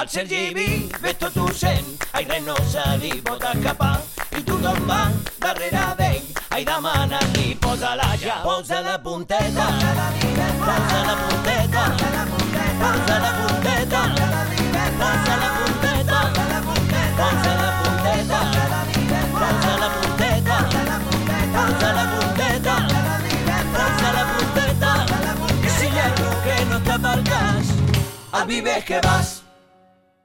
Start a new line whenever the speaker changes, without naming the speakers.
El Sergi Vic ve tot docent, ai res no se li pot escapar. I tothom va darrere d'ell, ai demanant-li posa-la ja. Posa la punteta, posa la punteta, posa la punteta, posa la punteta, posa la punteta, posa la punteta, posa la punteta, posa la punteta. I si hi ha algú que no està pel cas, a vives que vas.